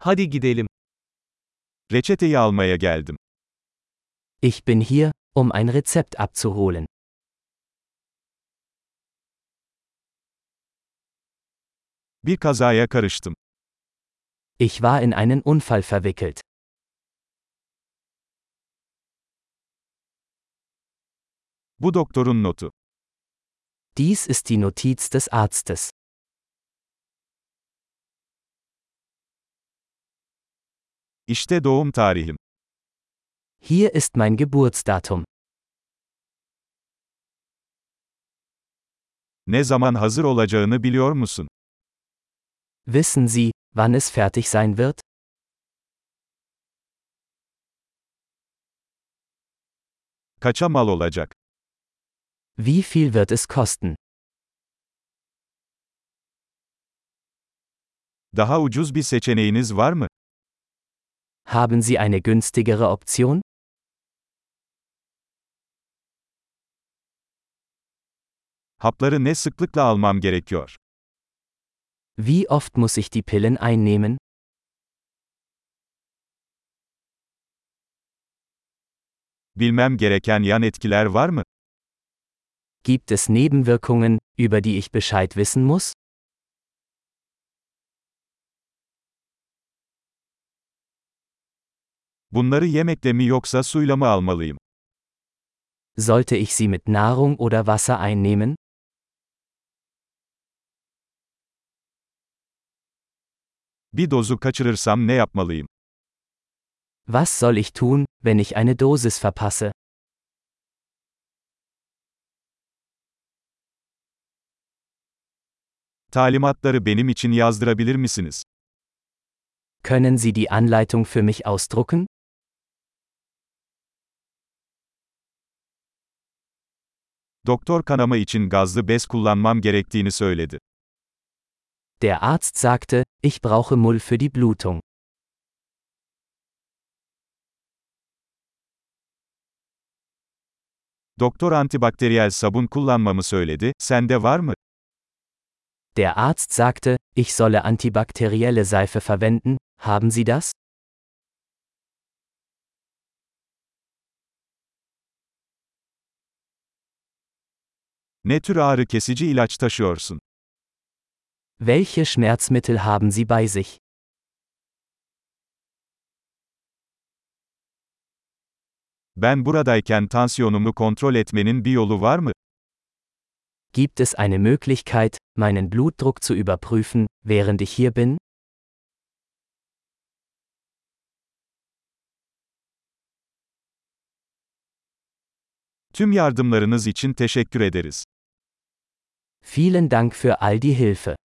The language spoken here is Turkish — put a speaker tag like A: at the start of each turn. A: Hadi gidelim. Reçeteyi almaya geldim.
B: Ich bin hier, um ein Rezept abzuholen.
A: Bir kazaya karıştım.
B: Ich war in einen Unfall verwickelt.
A: Bu doktorun notu.
B: Dies ist die Notiz des Arztes.
A: İşte doğum tarihim.
B: Hier ist mein Geburtsdatum.
A: Ne zaman hazır olacağını biliyor musun?
B: Wissen Sie, wann es fertig sein wird?
A: Kaça mal olacak?
B: Wie viel wird es kosten?
A: Daha ucuz bir seçeneğiniz var mı?
B: Haben Sie eine günstigere Option?
A: Hapları ne sıklıkla almam gerekiyor?
B: Wie oft muss ich die Pillen einnehmen?
A: Bilmem gereken yan etkiler var mı?
B: Gibt es Nebenwirkungen, über die ich Bescheid wissen muss?
A: Bunları yemekle mi yoksa suyla mı almalıyım?
B: Sollte ich sie mit Nahrung oder Wasser einnehmen?
A: Bir dozu kaçırırsam ne yapmalıyım?
B: Was soll ich tun, wenn ich eine Dosis verpasse?
A: Talimatları benim için yazdırabilir misiniz?
B: Können Sie die Anleitung für mich ausdrucken?
A: Doktor kanama için gazlı bez kullanmam gerektiğini söyledi.
B: Der Arzt sagte, ich brauche Mull für die Blutung.
A: Doktor antibakteriyel sabun kullanmamı söyledi, sende var mı?
B: Der Arzt sagte, ich solle antibakterielle Seife verwenden, haben Sie das?
A: Ne tür ağrı kesici ilaç taşıyorsun?
B: Welche Schmerzmittel haben Sie bei sich?
A: Ben buradayken tansiyonumu kontrol etmenin bir yolu var mı?
B: Gibt es eine Möglichkeit, meinen Blutdruck zu überprüfen, während ich hier bin?
A: Tüm yardımlarınız için teşekkür ederiz.
B: Vielen Dank für all die Hilfe.